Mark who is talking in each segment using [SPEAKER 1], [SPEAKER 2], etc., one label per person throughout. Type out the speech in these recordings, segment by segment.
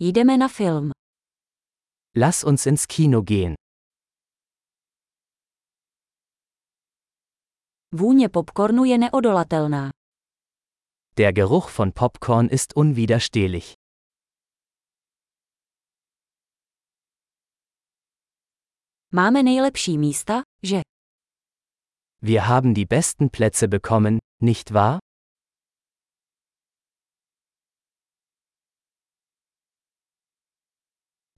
[SPEAKER 1] Jdeme na film.
[SPEAKER 2] Lass uns ins Kino gehen.
[SPEAKER 1] Vůně popcornu je neodolatelná.
[SPEAKER 2] Der Geruch von Popcorn ist unwiderstehlich.
[SPEAKER 1] Máme nejlepší místa, že?
[SPEAKER 2] Wir haben die besten Plätze bekommen, nicht wahr?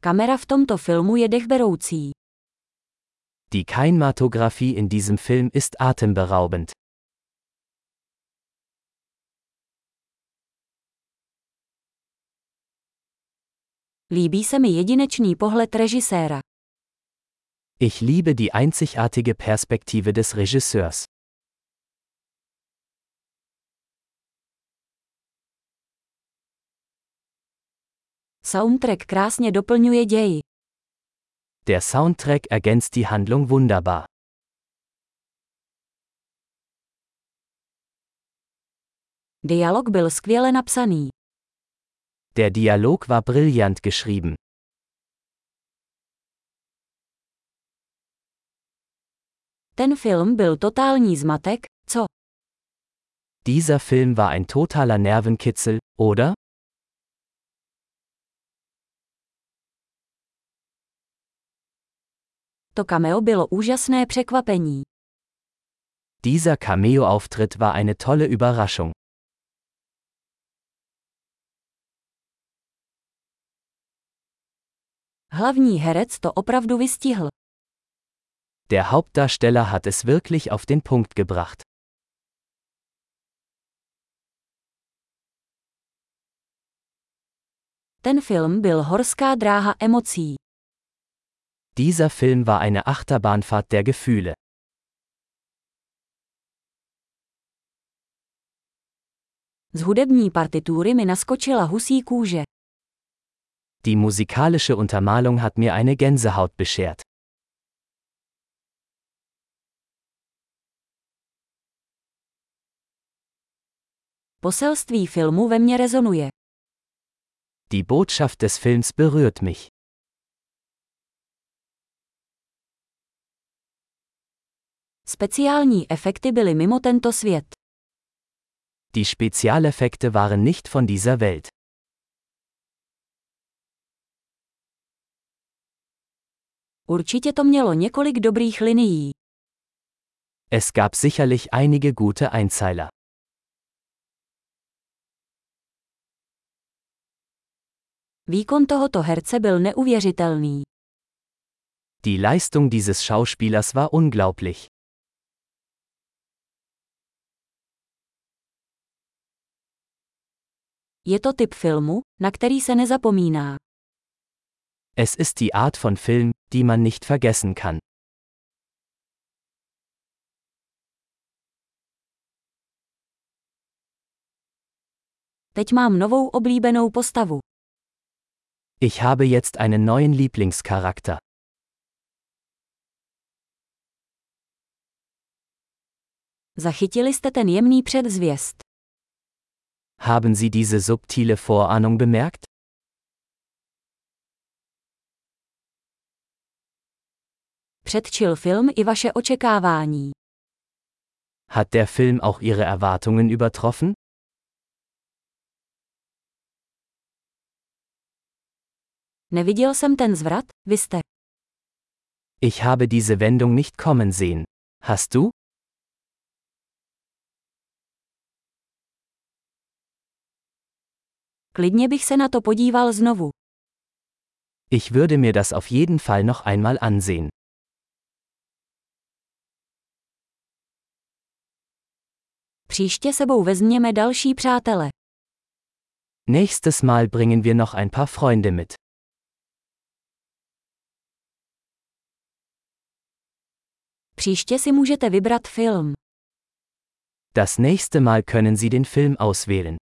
[SPEAKER 1] Kamera v tomto filmu je dechberoucí.
[SPEAKER 2] Die Kinematographie in diesem Film ist atemberaubend.
[SPEAKER 1] Líbí se mi jedinečný pohled režiséra.
[SPEAKER 2] Ich liebe die einzigartige Perspektive des Regisseurs.
[SPEAKER 1] Soundtrack krásně doplňuje ději.
[SPEAKER 2] Der Soundtrack ergänzt die Handlung wunderbar.
[SPEAKER 1] Dialog byl skvěle napsaný.
[SPEAKER 2] Der Dialog war brillant geschrieben.
[SPEAKER 1] Ten film byl totální zmatek, co?
[SPEAKER 2] Dieser Film war ein totaler Nervenkitzel, oder?
[SPEAKER 1] To cameo bylo úžasné překvapení.
[SPEAKER 2] Dieser Cameo-Auftritt war eine tolle Überraschung.
[SPEAKER 1] Hlavní herec to opravdu vystihl.
[SPEAKER 2] Der Hauptdarsteller hat es wirklich auf den Punkt gebracht.
[SPEAKER 1] Ten film byl horská dráha emocí.
[SPEAKER 2] Dieser Film war eine Achterbahnfahrt der Gefühle.
[SPEAKER 1] Z hudební partitury mi naskočila husí kůže.
[SPEAKER 2] Die musikalische Untermalung hat mir eine Gänsehaut beschert.
[SPEAKER 1] Poselství filmu ve mně rezonuje.
[SPEAKER 2] Die Botschaft des Films berührt mich.
[SPEAKER 1] Speciální efekty byly mimo tento svět.
[SPEAKER 2] Die Spezialeffekte waren nicht von dieser Welt.
[SPEAKER 1] Určitě to mělo několik dobrých linií.
[SPEAKER 2] Es gab sicherlich einige gute Einzeiler.
[SPEAKER 1] Výkon tohoto herce byl neuvěřitelný.
[SPEAKER 2] Die Leistung dieses Schauspielers war unglaublich.
[SPEAKER 1] Je to typ filmu, na který se nezapomíná.
[SPEAKER 2] Es ist die Art von Film, die man nicht vergessen kann.
[SPEAKER 1] Teď mám novou oblíbenou postavu.
[SPEAKER 2] Ich habe jetzt einen neuen Lieblingscharakter.
[SPEAKER 1] Zachytili jste ten jemný předzvěst.
[SPEAKER 2] Haben Sie diese subtile Vorahnung bemerkt?
[SPEAKER 1] Předčil film i vaše očekávání.
[SPEAKER 2] Hat der Film auch Ihre Erwartungen übertroffen?
[SPEAKER 1] Neviděl jsem ten zvrat, vy jste.
[SPEAKER 2] Ich habe diese Wendung nicht kommen sehen. Hast du?
[SPEAKER 1] Klidně bych se na to podíval znovu.
[SPEAKER 2] Ich würde mir das auf jeden Fall noch einmal ansehen.
[SPEAKER 1] Příště sebou vezměme další přátele.
[SPEAKER 2] Nächstes Mal bringen wir noch ein paar Freunde mit.
[SPEAKER 1] Příště si můžete vybrat film.
[SPEAKER 2] Das nächste Mal können Sie den Film auswählen.